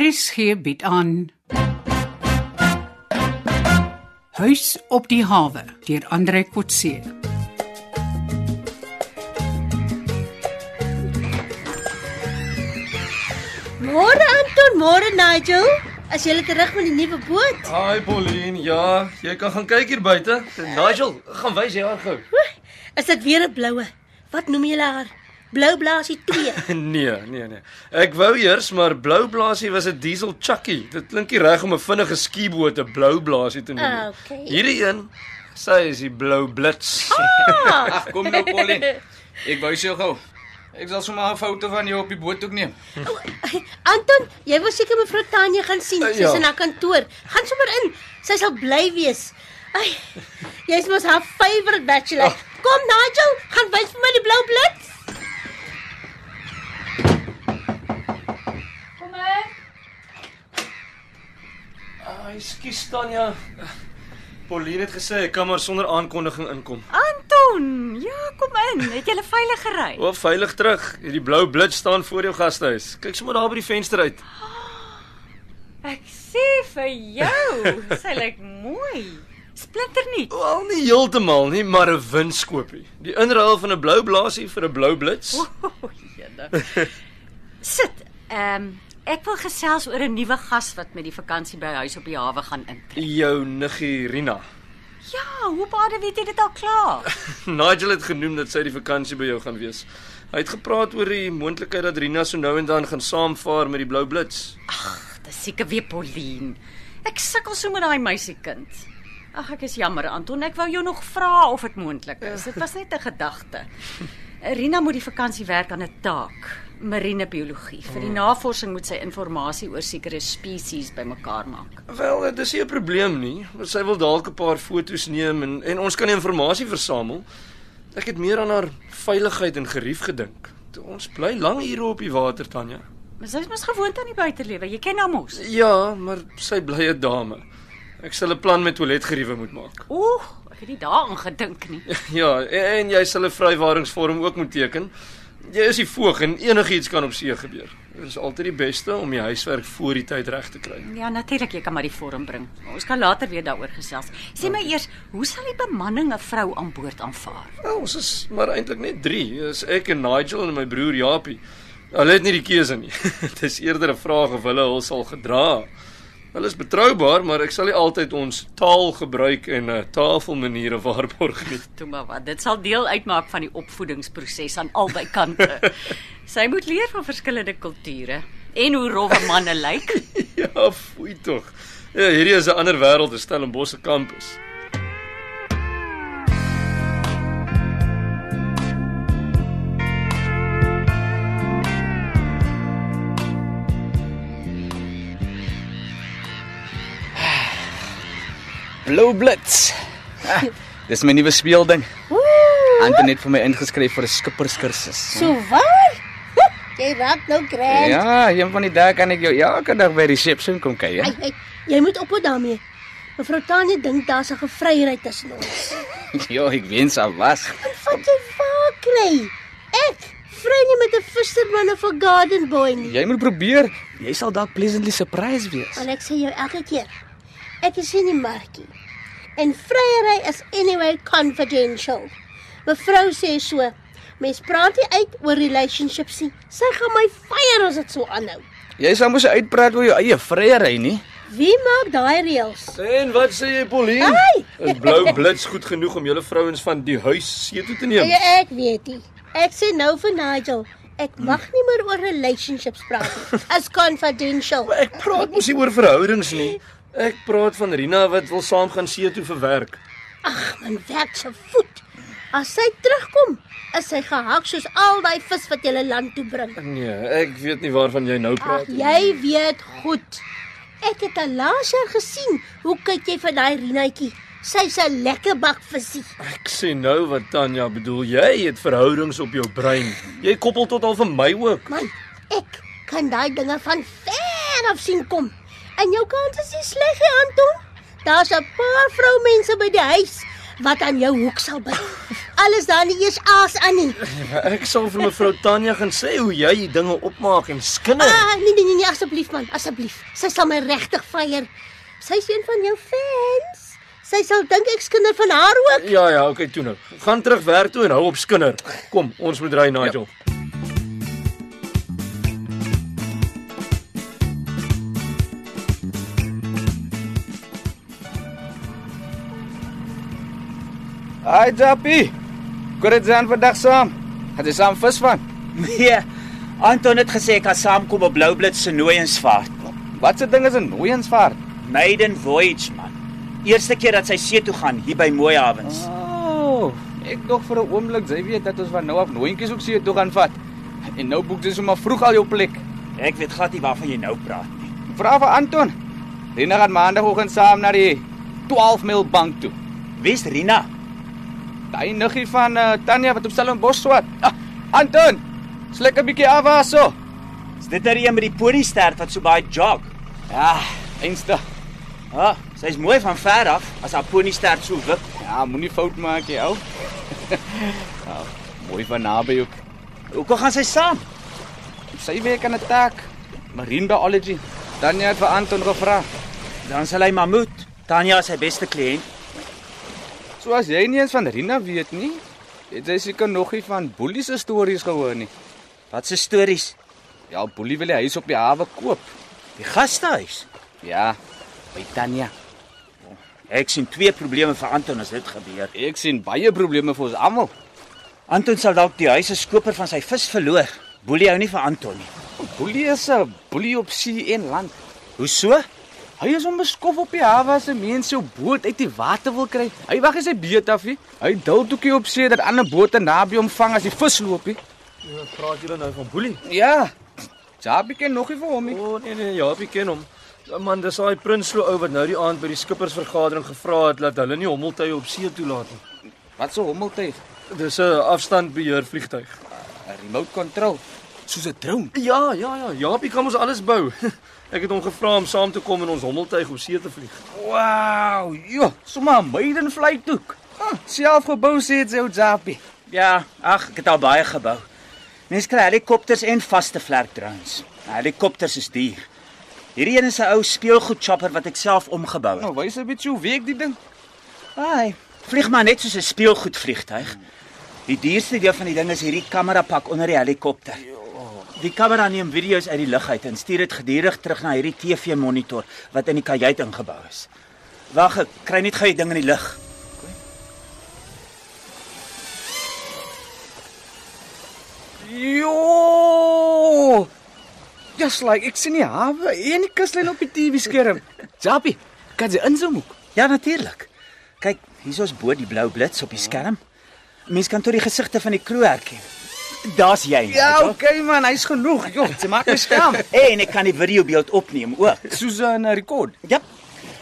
RSG bied aan Huis op die hawe deur Andre Kotse. Môre Anton, môre Nigel. As jy terug met die nuwe boot. Hi Pauline, ja, jy kan gaan kyk hier buite. Nigel, gaan wys jy haar gou. Oeh, Is dit weer 'n bloue? Wat noem jy haar? Blou blaasie 2. Nee, nee, nee. Ek wou eers, maar blou blaasie was 'n diesel chucky. Dit klink nie reg om 'n vinnige skieboot 'n blou blaasie te noem. nie. Okay. Hierdie een, sy is die blou blits. Ah, Kom nou, Pauline. Ek wou jou gou. Ek sal sommer 'n foto van jou op die boot ook neem. Anton, jy wil seker mevrou Tanya gaan sien. Eh, Sy's ja. in haar kantoor. Gaan sommer in. Sy sal bly wees. Ai. Jy's mos haar favourite bachelor. Ah. Kom Nigel, gaan wys vir my die blou blits. Ai, skus Ah, Tanya. Pauline het gesê ek kan maar sonder aankondiging inkom. Ah. Anton, ja, kom in. Het jy veilig gery? O, veilig terug. Hierdie blou blits staan voor jou gastehuis. Kyk sommer daar by die venster uit. Ek sê vir jou, sy lyk mooi. Splinternuut. Wel nie heeltemal nie, maar 'n winskoopie. Die inruil van 'n blou blaasie vir 'n blou blits. Sit. Ehm, ek wil gesels oor 'n nuwe gas wat met die vakansie by huis op die hawe gaan intrek. Jou niggie Rina. Ja, hoe baie weet jy dit al klaar? Nigel het genoem dat sy die vakansie by jou gaan wees. Hy het gepraat oor die moontlikheid dat Rina so nou en dan gaan saamvaar met die blou blits. Dis seker weer Pauline. Ek sukkel so met daai meisiekind. Ag, ek is jammer Anton, ek wou jou nog vra of dit moontlik is. Dit was net 'n gedagte. Rina moet die vakansie werk aan 'n taak, marine biologie. Vir die navorsing moet sy inligting oor sekere spesies bymekaar maak. Wel, dit is nie 'n probleem nie, maar sy wil dalk 'n paar foto's neem en en ons kan die inligting versamel. Ek het meer aan haar veiligheid en gerief gedink. Ons bly lank ure op die water, Tanya. Maar sy is mos gewoond aan die buitelewe. Jy ken haar mos. Ja, maar sy bly 'n dame. Ek sal 'n plan met toiletgeriewe moet maak. Oeg, ek het nie daaraan gedink nie. Ja, en, en jy sal 'n vrywaringsvorm ook moet teken. Jy is die voog en enigiets kan op see gebeur. Dit is altyd die beste om die huiswerk voor die tyd reg te kry. Ja, natuurlik, jy kan maar die vorm bring. Ons kan later weer daaroor gesels. Sê my eers, hoe sal die bemanning 'n vrou aan boord aanvaar? Nou, ons is maar eintlik net 3. Dis ek en Nigel en my broer Japie. Hulle het nie die keuse nie. Dit is eerder 'n vraag of hulle ons sal gedra. Hulle is betroubaar, maar ek sal nie altyd ons taal gebruik en uh, tafelmaniere waarborg nie. Toe maar wat, dit sal deel uitmaak van die opvoedingsproses aan albei kante. Sy moet leer van verskillende kulture en hoe rowwe manne lyk. Ja, foei tog. Ja, hierdie is 'n ander wêreld, te Stellenbosch se kampus. Blou blits. Ah, dis my nuwe speelding. Ooh, Anton het vir my ingeskryf vir 'n skipperskursus. Ah. so waar? Jy raak nou grand. Ja, een van die dae kan ek jou elke dag by die reception kom kyk, hè? Ai, ai, jy moet ophou daarmee. Mevrou Tanya dink daar's 'n gevryheid tussen ons. Ja, ek wens al was. Wat jy waar kry? Ek vry nie met 'n visserman of 'n garden boy nie. Jy moet probeer. Jy sal dalk pleasantly surprised wees. En ek sê jou elke keer. Ek is in die markie. En vryery is anyway confidential. Mevrou sê so. Mens praat nie uit oor relationships nie. Sy gaan my fire as dit so aanhou. Jy sal mos uitpraat oor jou eie vryery nie. Wie maak daai reëls? En wat sê jy, Pauline? Ai! Is blou blits goed genoeg om julle vrouens van die huis see toe te neem? Ja, ek weet nie. Ek sê nou vir Nigel, ek mag nie meer oor relationships praat nie. As confidential. Maar Ek praat mos nie oor verhoudings nie. Ek praat van Rina wat wil saam gaan see toe vir werk. Ag, man, werk se voet. As sy terugkom, is sy gehak soos al daai vis wat jy land toe bring. Nee, ek weet nie waarvan jy nou Ag, praat nie. jy weet goed. Ek het al laas jaar gesien hoe kyk jy vir daai Rinaatjie. Sy's 'n lekker bak visie. Ek sê nou wat Tanya bedoel. Jy het verhoudings op jou brein. Jy koppel tot al vir my ook. Man, ek kan daai dinge van ver af sien kom. En jou kans is nie sleg nie, Anton. Daar's 'n paar vroumense by die huis wat aan jou hoek sal byt. alles daar nie eers aas aan nie. Ek sal vir mevrou Tanya gaan sê hoe jy die dinge opmaak en skinder. Ah, nee nee nee, nee asseblief man, asseblief. Sy sal my regtig vyer. Sy is een van jou fans. Sy sal dink ek skinder van haar ook. Ja ja, okay, toe nou. Gaan terug werk toe en hou op skinder. Kom, ons moet ry Nigel. Hi Jappie. Kom dit dan vandag saam. Het jy saam vis van? Nee. Anton het gesê ek gaan saamkom op Blou Blitz se nooiensvaart. Wat se ding is 'n nooiensvaart? Maiden voyage man. Eerste keer dat sy see toe gaan hier by Mooi Havens. Ooh, ek dog vir 'n oomblik jy weet dat ons van nou af nooientjies ook see toe gaan vat. En nou boek jy sommer vroeg al jou plek. Ek weet glad nie waarvan jy nou praat nie. Vra vir Anton. Rina gaan maandagooggend saam na die 12 mil bank toe. Wie's Rina? Daai niggie van uh, Tanya wat op Stellenbosch swat. Ah, Anton, sluk 'n bietjie af daar so. Is dit nou die een met die poniestert wat so baie jog? Ja, eenste. Ah, sy's mooi van ver af as haar poniestert so wip. Ja, moenie fout maak jy ou. ja, mooi van naby ook. Hoekom gaan sy saam? Sy werk aan 'n taak, marine biology. Tanya het vir Anton gevra. Dan sal hy maar moet. Tanya is sy beste kliënt. So as jy nie eens van Rina weet nie, het jy seker nog nie van Boelie se stories gehoor nie. Wat se stories? Ja, Boelie wil die huis op die hawe koop. Die gastehuis. Ja, by Tanya. Ek sien twee probleme vir Anton as dit gebeur. Ek sien baie probleme vir ons almal. Anton sal dalk die huis as koper van sy vis verloor. Boelie hou nie vir Anton nie. Boelie is 'n boelie op see en land. Hoe so? Hy is onbeskof op die hawe as 'n mens jou boot uit die water wil kry. Hy wag as hy beet af nie. Hy dul toekie op see dat ander bote naby hom vang as die vis loop nie. Ja, praat julle nou van Boelie? Ja. Jabie ken nog nie vir hom nie. O oh, nee nee, Japie ken hom. Ja, Man, dis daai Prinsloo ou wat nou die aand by die skippersvergadering gevra het dat hulle nie hommeltuie op see toelaat nie. Wat so hommeltuig? Dis 'n afstandbeheer vliegtyg. 'n Remote control. Soos 'n drone. Ja, ja, ja, Japie kan ons alles bou. Ek het hom gevra om saam te kom en ons hommeltuig op see te vlieg. Wow, Ja, jo, sommer 'n maidenvlei toe. Huh, self gebou sê dit jou Jabie. Ja, ag, ek het al baie gebou. Mense kry helikopters en vaste vlerk drones. Nou, Helikopters is duur. Hierdie een is 'n ou speelgoed chopper wat ek self omgebou het. Nou wys 'n bietjie hoe week die ding. Ai, vlieg maar net soos 'n speelgoed vliegtyg. Die duurste deel van die ding is hierdie kamerapak onder die helikopter. Die kamera neem video's uit die lug uit en stuur dit gedurig terug na hierdie TV-monitor wat in die kajuit ingebou is. Wag, ek kry net gou die ding in die lug. Jo! Just like ek sien die hawe en die kuslyn op die TV-skerm. Jappie, kan jy inzoom ook? Ja, natuurlik. Kyk, hier is ons bo die blou blits op die skerm. Mense kan tot die gesigte van die kroeg herken. Daar's jy. Ja, Nigel. okay man, hy's genoeg. Jo, jy maak my skaam. En ek kan die videobeeld opneem ook. Susan rekord. Ja.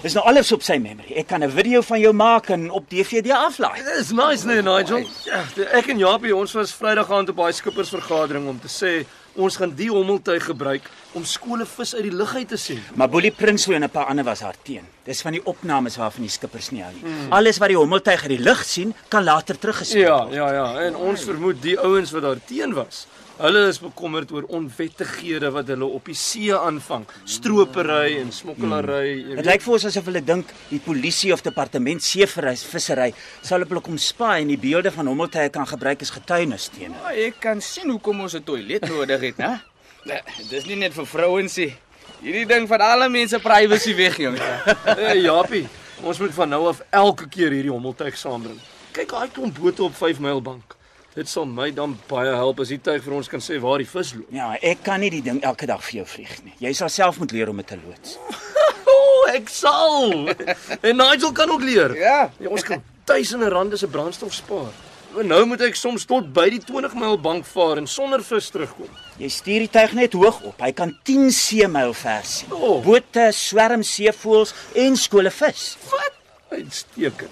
Dis nou alles op sy memory. Ek kan 'n video van jou maak en op DVD aflaai. Dis nice nee, Nigel. Ja, ek en Japie, ons was Vrydag aand op daai skippersvergadering om te sê ons gaan die hommeltuig gebruik om skole vis uit die lug uit te sien. Maar Boelie Prinsloo en 'n paar ander was haar teen. Dis van die opnames waarvan die skippers nie hou nie. Alles wat die hommeltuig uit die lug sien, kan later teruggestuur Ja, word. ja, ja, en ons vermoed die ouens wat daar teen was. Hulle is bekommerd oor onwettighede wat hulle op die see aanvang, stropery en smokkelary. jy Dit weet. lyk vir ons asof hulle dink die polisie of departement seevissery vissery sal op hulle kom spy en die beelde van hommeltuie kan gebruik as getuienis teen hulle. Ja, ek kan sien hoekom ons 'n toilet nodig het, né? Nee, Dis nie net vir vrouens nie. Hierdie ding van alle mense privacy weg, jong. Hey Japie, ons moet van nou af elke keer hierdie hommeltuig saambring. Kyk daai klomp bote op 5 myl bank. Dit sal my dan baie help as die tuig vir ons kan sê waar die vis loop. Ja, ek kan nie die ding elke dag vir jou vlieg nie. Jy sal self moet leer om dit te loods. O, oh, ek sal. en Nigel kan ook leer. Ja. ja ons kan duisende rande se brandstof spaar. Maar nou moet ek soms tot by die 20 myl bank vaar en sonder vis terugkom. Jy stuur die tuig net hoog op. Hy kan 10 seemyl ver sien. O. Bote, swerm seevoëls en skole vis. Wat? Uitstekend.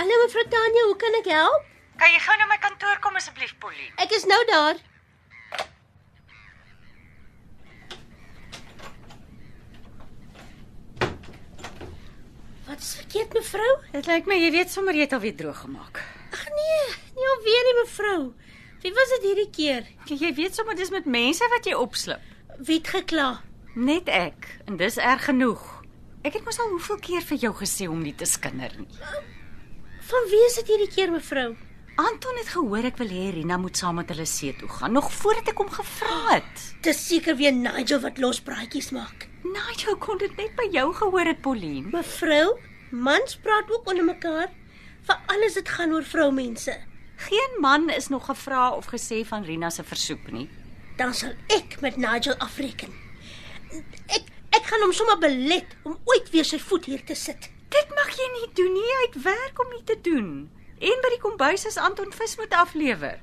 Hallo mevrou Tanya, hoe kan ek help? Kan jy gou na my kantoor kom asseblief, Polly? Ek is nou daar. Wat is verkeerd mevrou? Dit lyk my jy weet sommer jy het al weer droog gemaak. Ag nee, nie alweer nie mevrou. Wie was dit hierdie keer? Jy weet sommer dis met mense wat jy opslip. Wie het gekla? Net ek en dis erg genoeg. Ek het mos al hoeveel keer vir jou gesê om nie te skinder nie. Van wie is dit hierdie keer mevrou? Anton het gehoor ek wil hê Rina moet saam met hulle see toe gaan nog voordat ek hom gevra het. Dis seker weer Nigel wat lospraatjies maak. Nigel kon dit net by jou gehoor het, Pauline. Mevrou, mans praat ook onder mekaar. Vir alles dit gaan oor vroumense. Geen man is nog gevra of gesê van Rina se versoek nie. Dan sal ek met Nigel afreken. Ek ek gaan hom sommer belet om ooit weer sy voet hier te sit. Dit mag jy nie doen nie. Hy het werk om nie te doen. En by die kombuis is Anton vis moet aflewer.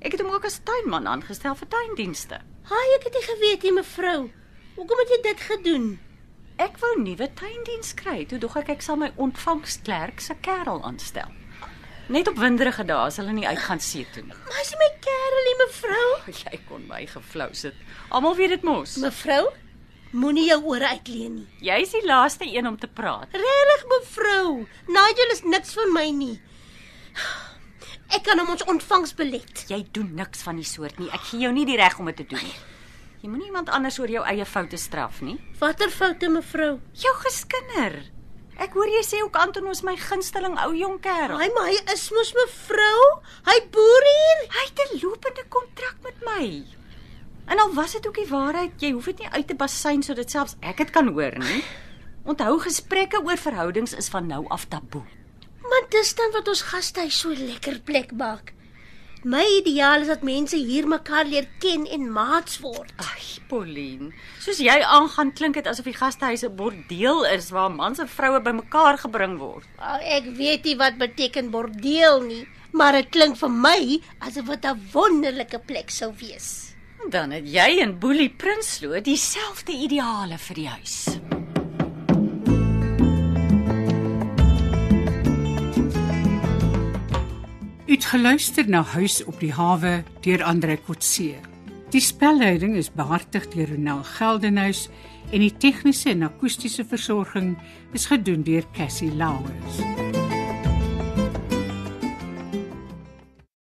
Ek het hom ook as tuinman aangestel vir tuindienste. Haai, ek het nie geweet nie mevrou. Hoekom het jy dit gedoen? Ek wou nuwe tuindiens kry. Toe dog ek ek sal my ontvangsklerk se kerel aanstel. Net op winderige dae as hulle nie uitgaan see toe nie. Maar as jy my kerel, nie, mevrou. Jy kon my geflous het. Almal weet dit mos. Mevrou, moenie jou ore uitleen nie. Jy's die laaste een om te praat. Regtig mevrou, Nigel is niks vir my nie. Ek kan hom ons ontvangs belet. Jy doen niks van die soort nie. Ek gee jou nie die reg om dit te doen nie. Jy moenie iemand anders oor jou eie foute straf nie. Watter foute mevrou? Jou geskinder. Ek hoor jy sê ook Anton ons my gunsteling ou jong kerel. Haai, maar hy is mos mevrou. Hy boer hier. Hy het 'n lopende kontrak met my. En al was dit ook die waarheid, jy hoef dit nie uit te basyn sodat selfs ek dit kan hoor nie. Onthou gesprekke oor verhoudings is van nou af taboe. Maar dis dan wat ons gastehuis so 'n lekker plek maak. My ideaal is dat mense hier mekaar leer ken en maats word. Ag, Pauline, soos jy aangaan klink dit asof die gastehuis 'n bordeel is waar mans en vroue bymekaar gebring word. Al ek weet nie wat beteken bordeel nie, maar dit klink vir my asof dit 'n wonderlike plek sou wees. Dan het jy en Boelie Prinsloo dieselfde ideale vir die huis. Uitgeluister na Huis op die hawe deur Andre Kotse. Die spelleiding is behartig deur Ronel Geldenhuys en die tegniese en akoestiese versorging is gedoen deur Cassie Lauers.